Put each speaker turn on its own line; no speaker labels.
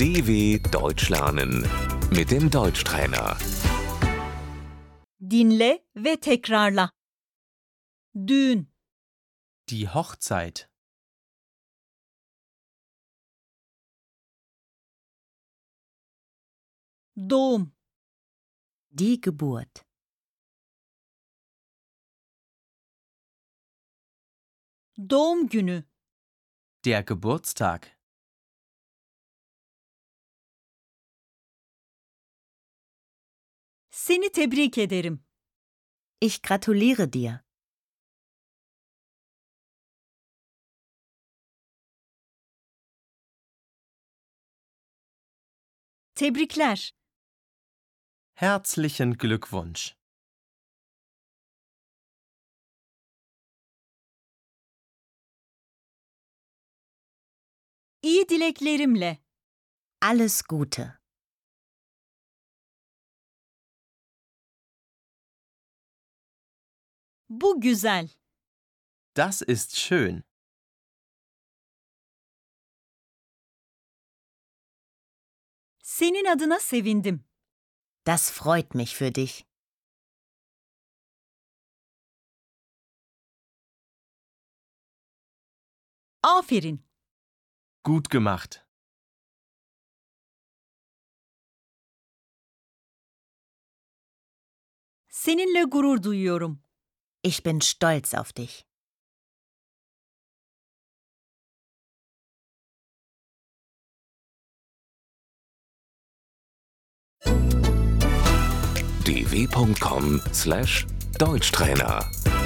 DW Deutsch lernen mit dem Deutschtrainer.
Dinle ve tekrarla. Düğün,
Die Hochzeit.
doğum,
Die Geburt.
doğum günü,
Der Geburtstag.
seni tebrik ederim.
Ich gratuliere dir.
Tebrikler,
Herzlichen Glückwunsch.
iyi dileklerimle.
Alles Gute.
Bu güzel.
Das ist schön.
Senin adına sevindim.
Das freut mich für dich.
Aferin.
Gut gemacht.
Seninle gurur duyuyorum.
Ich bin stolz auf dich.
dw.com/deutschtrainer